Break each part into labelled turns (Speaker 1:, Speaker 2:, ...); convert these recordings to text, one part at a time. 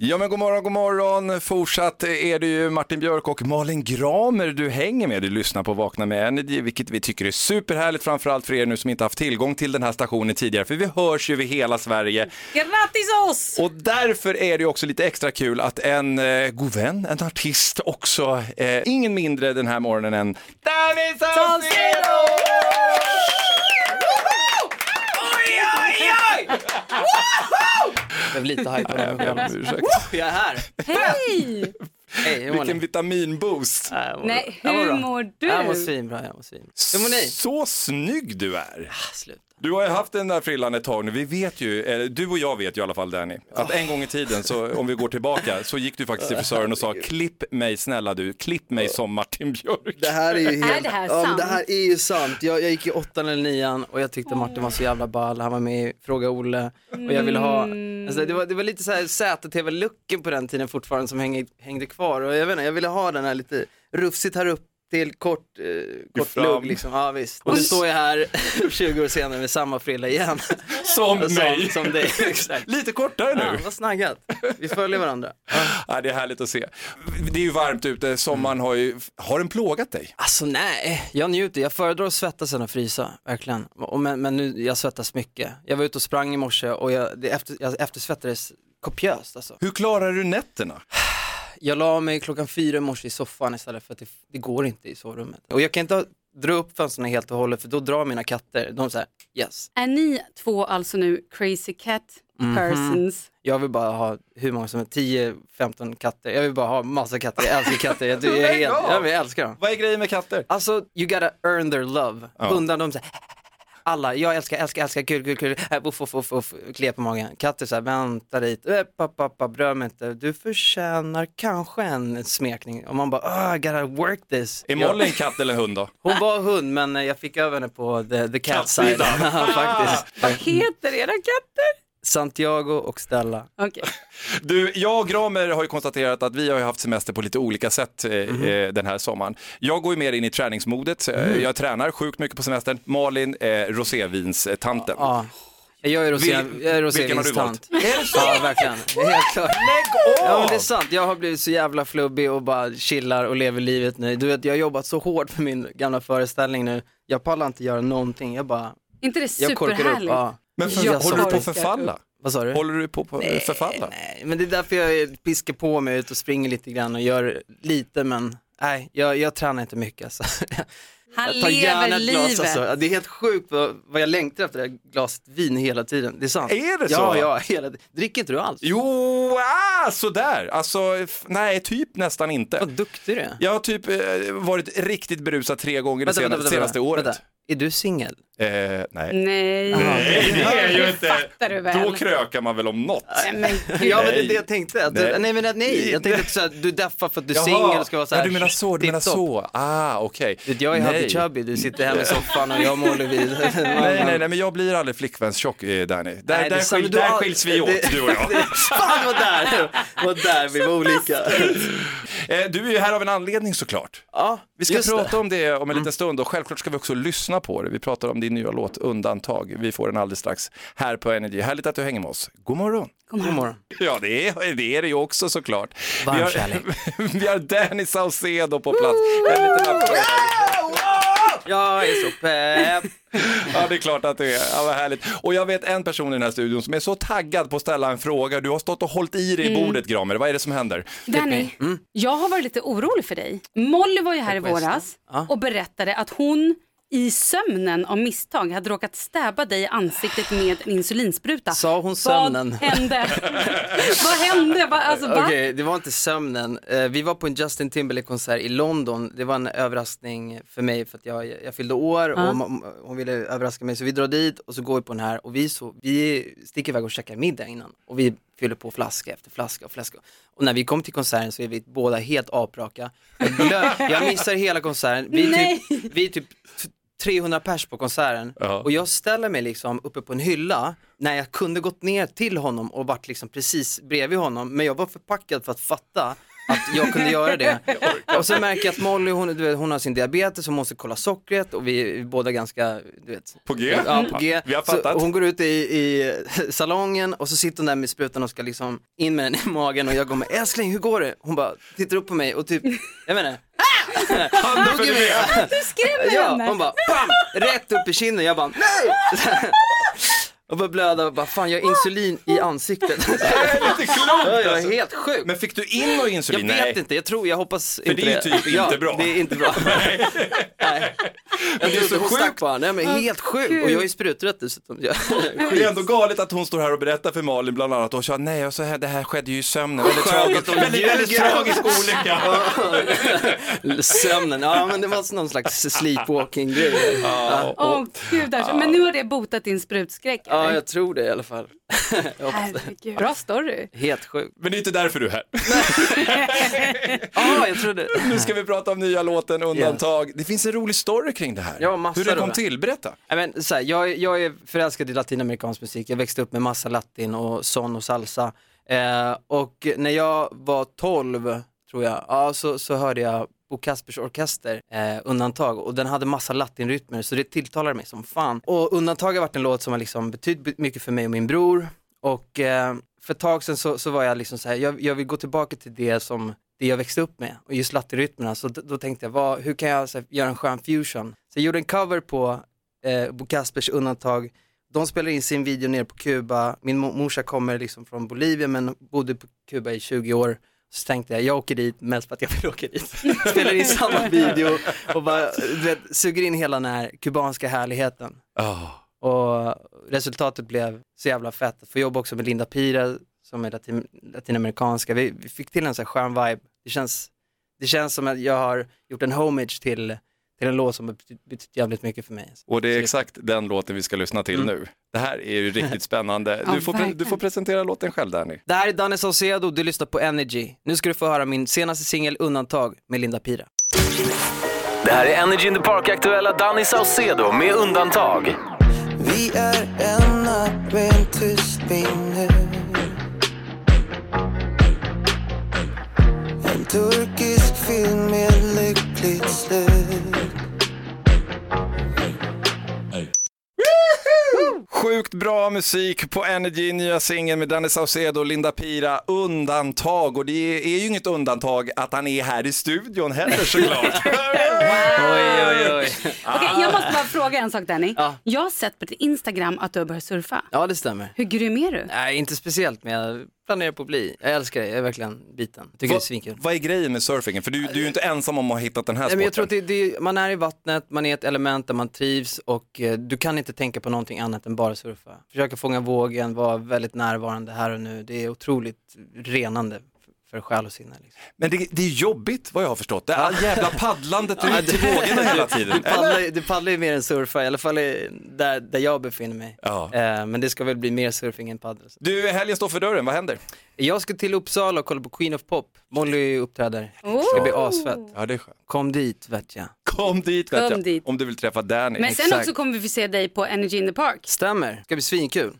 Speaker 1: Ja men god morgon, god morgon. Fortsatt är det ju Martin Björk och Malin Gramer du hänger med. Du lyssnar på Vakna med Energy, vilket vi tycker är superhärligt, framförallt för er nu som inte haft tillgång till den här stationen tidigare, för vi hörs ju över hela Sverige.
Speaker 2: Grattis oss!
Speaker 1: Och därför är det ju också lite extra kul att en eh, god vän, en artist också, eh, ingen mindre den här morgonen än Danny Saucedo! Oj, oj, oj!
Speaker 3: Jag blev lite hypad.
Speaker 1: Jag ber om ursäkt.
Speaker 3: Jag är här.
Speaker 2: Hej!
Speaker 3: Hej, hur mår
Speaker 1: Vilken
Speaker 3: ni?
Speaker 1: vitaminboost!
Speaker 3: Nej, jag mår bra.
Speaker 2: Nej,
Speaker 3: Jag
Speaker 2: hur
Speaker 3: bra.
Speaker 2: mår
Speaker 3: Jag mår
Speaker 2: du?
Speaker 3: svinbra, jag mår svinbra. Hur mår ni?
Speaker 1: Så snygg du är!
Speaker 3: Ah, Sluta.
Speaker 1: Du har ju haft den där frillan ett tag nu. Vi vet ju, eh, du och jag vet ju i alla fall Danny, att en gång i tiden, så, om vi går tillbaka, så gick du faktiskt till frisören och sa klipp mig snälla du, klipp mig som Martin Björk.
Speaker 3: Det här är ju helt...
Speaker 2: det här
Speaker 3: ja, men
Speaker 2: sant?
Speaker 3: det här är ju sant. Jag, jag gick i åttan eller nian och jag tyckte Martin var så jävla ball. Han var med i Fråga Olle och jag ville ha,
Speaker 2: Mm.
Speaker 3: alltså, det, var, det var lite så här ZTV-looken på den tiden fortfarande som hängde, hängde kvar och jag vet inte, jag ville ha den här lite rufsigt här upp till kort, eh, kort
Speaker 1: fram.
Speaker 3: lugg liksom. Ja, visst. Och nu står jag här 20 år senare med samma frilla igen.
Speaker 1: Som
Speaker 3: som,
Speaker 1: mig!
Speaker 3: Alltså, som dig. Exakt.
Speaker 1: Lite kortare
Speaker 3: Ja,
Speaker 1: nu.
Speaker 3: vad snaggat. Vi följer varandra.
Speaker 1: Ja, det är härligt att se. Det är ju varmt ute, sommaren har ju, har den plågat dig?
Speaker 3: Alltså nej, jag njuter. Jag föredrar att svettas än att frysa, verkligen. Och, men, men nu, jag svettas mycket. Jag var ute och sprang i morse och jag, det efter, jag eftersvettades kopiöst alltså.
Speaker 1: Hur klarar du nätterna?
Speaker 3: Jag la mig klockan fyra i morse i soffan istället för att det, det går inte i sovrummet. Och jag kan inte ha- dra upp fönstren helt och hållet för då drar mina katter, de säger yes.
Speaker 2: Är ni två alltså nu crazy cat
Speaker 3: Mhm.
Speaker 2: persons?
Speaker 3: Jag vill bara ha hur många som är 10-15 katter. Jag vill bara ha massa katter, jag älskar katter. Jag, jag, är helt, jag, jag älskar dem.
Speaker 1: Vad är grejen med katter?
Speaker 3: Alltså, you gotta earn their love.
Speaker 1: Ja.
Speaker 3: Undan dem såhär, alla, jag älskar, älskar, älskar, kul, kul, kul, Äh, uff, uff, uff, uff, klia på magen. Katter såhär, vänta dit, äh, pappa, pappa, bröd mig inte, du förtjänar kanske en smekning. Och man bara, ah, gotta work this.
Speaker 1: Är
Speaker 3: Ja.
Speaker 1: Molly en katt eller en hund då?
Speaker 3: Hon var hund, men eh, jag fick över henne på the, the cat side. Faktiskt.
Speaker 2: Vad heter era katter?
Speaker 3: Santiago och Stella.
Speaker 2: Okej,
Speaker 1: Du, jag och Gramer har ju konstaterat att vi har ju haft semester på lite olika sätt eh,
Speaker 3: Mhm.
Speaker 1: eh, den här sommaren. Jag går ju mer in i träningsmodet. Eh,
Speaker 3: Mm.
Speaker 1: Jag tränar sjukt mycket på semestern. Malin, eh, rosévinstanten.
Speaker 3: Ja. Jag är rosé,
Speaker 1: Vil-
Speaker 3: jag är
Speaker 1: vilken har du
Speaker 3: rosévinstant. Ja, verkligen. Helt klart.
Speaker 1: Lägg
Speaker 3: Ja men
Speaker 1: av!
Speaker 3: det är sant, jag har blivit så jävla flubbig och bara chillar och lever livet nu. Du vet, jag har jobbat så hårt för min gamla föreställning nu. Jag pallar inte göra någonting, jag bara,
Speaker 2: inte det
Speaker 3: jag korkar upp.
Speaker 2: superhärligt?
Speaker 3: Ja.
Speaker 1: Men för,
Speaker 3: Jag
Speaker 1: håller du på att
Speaker 2: sorkar
Speaker 1: förfalla?
Speaker 3: Vad sa du?
Speaker 1: Håller du på att förfalla?
Speaker 3: Nej, Eh, men det är därför jag piskar på mig ut och springer lite grann och gör lite men, nej, jag, jag tränar inte mycket alltså.
Speaker 2: Han
Speaker 3: Jag tar
Speaker 2: lever
Speaker 3: gärna ett glas
Speaker 2: livet.
Speaker 3: alltså. Ja, Det är helt sjukt vad, vad jag längtar efter det här glaset vin hela tiden, det är sant.
Speaker 1: Är det så?
Speaker 3: Ja, ja, hela Dricker inte du alls?
Speaker 1: Jo, ah, sådär. Alltså, f- nej, typ nästan inte.
Speaker 3: Vad duktig du är.
Speaker 1: Jag har typ eh, varit riktigt berusad tre gånger det
Speaker 3: Vänta,
Speaker 1: senaste,
Speaker 3: vänta, vänta,
Speaker 1: senaste
Speaker 3: vänta.
Speaker 1: året.
Speaker 3: Vänta. Är du singel?
Speaker 1: Eh, nej.
Speaker 2: Nej.
Speaker 1: nej, det är ju
Speaker 2: fattar du väl.
Speaker 1: Då krökar man väl om något.
Speaker 2: Nej, men gud.
Speaker 3: Ja men det
Speaker 1: Nej.
Speaker 3: är det jag tänkte, att
Speaker 1: Nej.
Speaker 3: du, nej men att nej, jag tänkte att så här, du deffar för att du är singel och ska vara så här,
Speaker 1: Ja, du menar så, du menar så. Ah, okej.
Speaker 3: Du vet, Jag är Happy
Speaker 1: Nej.
Speaker 3: Chubby, du sitter hemma i soffan och jag målar vid.
Speaker 1: Nej, nej, nej, men jag blir aldrig flickvänstjock, eh, Danny. Där,
Speaker 3: det
Speaker 1: där,
Speaker 3: är sant.
Speaker 1: skil,
Speaker 3: Du
Speaker 1: där
Speaker 3: har-
Speaker 1: skiljs vi åt,
Speaker 3: det-
Speaker 1: du och jag.
Speaker 3: Fan vad där, vad där vi var olika.
Speaker 1: Eh, Du är ju här av en anledning såklart.
Speaker 3: Ja,
Speaker 1: Vi ska
Speaker 3: just det. Mm.
Speaker 1: prata om det om en liten stund och självklart ska vi också lyssna på det. Vi pratar om din nya låt Undantag. Vi får den alldeles strax här på Energy. Härligt att du hänger med oss. God morgon.
Speaker 3: God morgon.
Speaker 1: Ja, det är det, är det ju också såklart.
Speaker 3: Varm
Speaker 1: vi,
Speaker 3: kärlek.
Speaker 1: har, vi har Danny Saucedo på plats. En liten applåd.
Speaker 3: Jag är så pepp.
Speaker 1: Ja, det är klart att det är. Ja, vad härligt. Och jag vet en person i den här studion som är så taggad på att ställa en fråga. Du har stått och hållit i dig
Speaker 3: Mm.
Speaker 1: i bordet, Gramer. Vad är det som händer?
Speaker 3: Typ
Speaker 2: Danny, jag har varit lite orolig för dig. Molly var ju här i våras och berättade att hon i sömnen av misstag hade råkat stäba dig i ansiktet med en insulinspruta.
Speaker 3: Sa hon sömnen?
Speaker 2: Vad hände? Vad hände? Va? Alltså, va?
Speaker 3: Okej, det var inte sömnen. Eh, vi var på en Justin Timberlake-konsert i London. Det var en överraskning för mig för att jag, jag fyllde år och hon, hon ville överraska mig. Så vi drar dit och så går vi på den här och vi, så, vi sticker iväg och käkar middag innan. Och vi fyller på flaska efter flaska och flaska. Och när vi kom till konserten så är vi båda helt apraka. Jag, glö- jag missar hela konserten. Vi är typ, vi är typ t- 300 pers på konserten
Speaker 1: Ja.
Speaker 3: och jag ställer mig liksom uppe på en hylla när jag kunde gått ner till honom och varit liksom precis bredvid honom men jag var förpackad för att fatta att jag kunde göra det. Och så märker jag att Molly hon, du vet, hon har sin diabetes, hon måste kolla sockret och vi är båda ganska, du vet,
Speaker 1: På G?
Speaker 3: Ja, på G.
Speaker 1: Ja, vi har
Speaker 3: Så
Speaker 1: fattat.
Speaker 3: hon går ut i, i salongen och så sitter hon där med sprutan och ska liksom in med den i magen och jag kommer, älskling hur går det? Hon bara tittar upp på mig och typ, jag vet inte. Han dog ju med.
Speaker 2: Skrämmer
Speaker 3: Ja,
Speaker 2: henne.
Speaker 3: hon bara, bam, rätt upp i kinden. Jag bara, nej! Och bara blöda och bara, fan jag har insulin i ansiktet.
Speaker 1: Det är inte klokt
Speaker 3: Jag
Speaker 1: alltså.
Speaker 3: är helt sjuk.
Speaker 1: Men fick du in något
Speaker 3: Jag
Speaker 1: insulin?
Speaker 3: vet inte, jag tror, jag hoppas inte
Speaker 1: det är typ inte
Speaker 3: ja,
Speaker 1: bra.
Speaker 3: det är inte bra. Nej. Jag
Speaker 1: är
Speaker 3: trodde
Speaker 1: så
Speaker 3: hon stack
Speaker 1: sjukt.
Speaker 3: på honom, nej men helt sjukt. Och jag är ju spruträtt dessutom. Jag-
Speaker 1: Det är ändå galet att hon står här och berättar för Malin bland annat och sa nej, och så här, det här skedde ju i sömnen. Väldigt tragiskt,
Speaker 3: de
Speaker 1: väldigt, väldigt
Speaker 3: ljuger.
Speaker 1: tragisk olycka.
Speaker 3: Sömnen, ja men det var alltså någon slags sleepwalking-grej. Ja.
Speaker 2: Åh gud, alltså. men nu har det botat din sprutskräck.
Speaker 3: ja,
Speaker 2: eller?
Speaker 3: jag tror det i alla fall. Jag hoppas det.
Speaker 2: Herregud. Bra story.
Speaker 3: Helt sjukt.
Speaker 1: Men det är inte därför du är här.
Speaker 3: Ja, jag trodde.
Speaker 1: Nu ska vi prata om nya låten Undantag. Det finns en rolig story kring det här.
Speaker 3: Ja, massor
Speaker 1: Hur det kom
Speaker 3: roliga.
Speaker 1: till, berätta.
Speaker 3: Nej, men, så här, jag, jag är förälskad i latinamerikansk musik, jag växte upp med massa latin och son och salsa. Eh, och när jag var 12, tror jag, ja, så, så hörde jag Bo Kaspers orkester, eh, Undantag, och den hade massa latinrytmer så det tilltalade mig som fan. Och Undantag har varit en låt som har liksom betytt mycket för mig och min bror. Och eh, för ett tag sedan så, så var jag liksom så här, jag, jag vill gå tillbaka till det som det jag växte upp med och just latinrytmerna. Så d- då tänkte jag, vad, hur kan jag så här, göra en skön fusion? Så jag gjorde en cover på eh, Bo Kaspers undantag. De spelar in sin video nere på Kuba. Min mo- morsa kommer liksom från Bolivia men bodde på Kuba i 20 år. Så tänkte jag, jag åker dit mest för att jag vill åka dit. Spelar in samma video och bara, du vet, suger in hela den här kubanska härligheten. Och resultatet blev så jävla fett. Få jobba också med Linda Pira som är latin, latinamerikanska. Vi, vi fick till en sån här skön vibe. Det känns, det känns som att jag har gjort en homage till, till en låt som har betytt- betytt jävligt mycket för mig.
Speaker 1: Och det är exakt den låten vi ska lyssna till nu. Det här är ju riktigt spännande.
Speaker 2: Mm. Ja,
Speaker 1: Du får, pre- du
Speaker 2: verkligen.
Speaker 1: får presentera låten själv Danny.
Speaker 3: Det här är Danne Saucedo, du lyssnar på Energy. Nu ska du få höra min senaste singel Undantag med Linda Pira.
Speaker 4: Det här är Energy in the Park-aktuella Danny Saucedo med undantag.
Speaker 5: Vi är en natt med en tyst vinner En turkisk film med lyckligt slut
Speaker 1: Sjukt bra musik på Energy, nya singeln med Danny Saucedo och Linda Pira, Undantag. Och det är ju inget undantag att han är här i studion heller såklart.
Speaker 3: Oj, oj, oj.
Speaker 2: Okej, jag måste bara fråga en sak Danny.
Speaker 3: Ah. Ja.
Speaker 2: Jag har sett på ditt Instagram att du har börjat surfa.
Speaker 3: Ja, det stämmer.
Speaker 2: Hur grym är du?
Speaker 3: Nej, inte speciellt, men jag planerar på att bli. Jag älskar det, jag är verkligen biten. Tycker det är svinkul.
Speaker 1: Vad är grejen med surfingen? För du, du är ju inte ensam om att ha hittat den här
Speaker 3: Nej,
Speaker 1: sporten.
Speaker 3: men jag tror att det, det, man är i vattnet, man är i ett element där man trivs och eh, du kan inte tänka på någonting annat än bara surfa. Försöka fånga vågen, vara väldigt närvarande här och nu. Det är otroligt renande för- för själ och sinne. Liksom.
Speaker 1: Men det, det är jobbigt vad jag har förstått. Det är jävla paddlandet till, till vågorna hela tiden.
Speaker 3: Du paddlar ju- Du paddlar ju mer än surfa, i alla fall i- där, där jag befinner mig.
Speaker 1: Ja.
Speaker 3: Eh, Men det ska väl bli mer surfing än paddel.
Speaker 1: Du, helgen står för dörren, vad händer?
Speaker 3: Jag ska till Uppsala och kolla på Queen of Pop. Molly uppträder.
Speaker 2: Oh!
Speaker 3: Det ska bli asfett.
Speaker 1: Ja, det är skönt.
Speaker 3: Kom dit vet jag.
Speaker 1: Kom dit vet
Speaker 2: Kom
Speaker 1: jag,
Speaker 2: dit.
Speaker 1: om du vill träffa Danny.
Speaker 2: Men sen också kommer vi få se dig på Energy in the Park.
Speaker 3: Stämmer, det ska bli svinkul.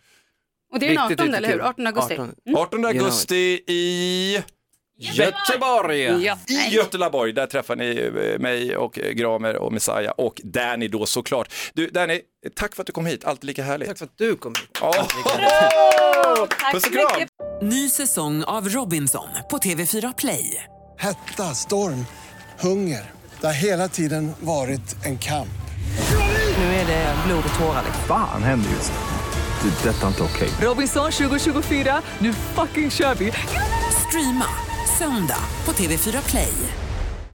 Speaker 2: Och det är den 18
Speaker 3: Riktigt, riktigt
Speaker 2: eller hur?
Speaker 3: kul.
Speaker 2: 18 augusti.
Speaker 3: 18.
Speaker 1: 18 augusti i,
Speaker 3: Göteborg!
Speaker 2: Mm. Ja.
Speaker 1: i Göteborg, där träffar ni eh, mig och eh, Gramer och Messiah och Danny då såklart. Du Danny, tack för att du kom hit, alltid lika härligt.
Speaker 3: Tack för att du kom hit.
Speaker 2: Tack
Speaker 1: Puss
Speaker 2: så
Speaker 1: och kram.
Speaker 2: mycket.
Speaker 6: Ny säsong av Robinson på TV4 Play.
Speaker 7: Hetta, storm, hunger. Det har hela tiden varit en kamp.
Speaker 6: liksom.
Speaker 8: Fan händer just det. Det är detta inte okej.
Speaker 6: Robinson 2024, nu fucking kör vi! Streama söndag på TV4 Play.